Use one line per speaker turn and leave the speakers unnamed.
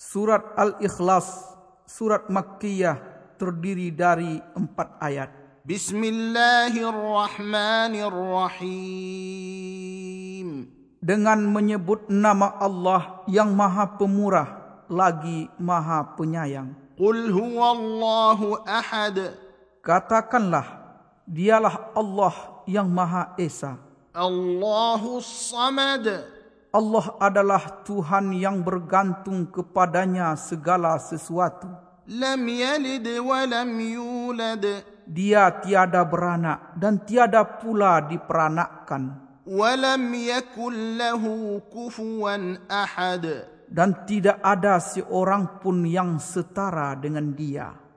Surat Al-Ikhlas, surat Makkiyah terdiri dari empat ayat.
بسم الله الرحمن الرحيم
Dengan menyebut nama Allah yang maha pemurah lagi maha penyayang.
قل هو الله احد
Katakanlah, dialah Allah yang maha esa.
الله الصمد
Allah adalah Tuhan yang bergantung kepadanya segala sesuatu.
لم يلد ولم يولد
Dia tiada beranak dan tiada pula diperanakkan
ولم يكن له كفوا احد
dan tidak ada seorang pun yang setara dengan dia.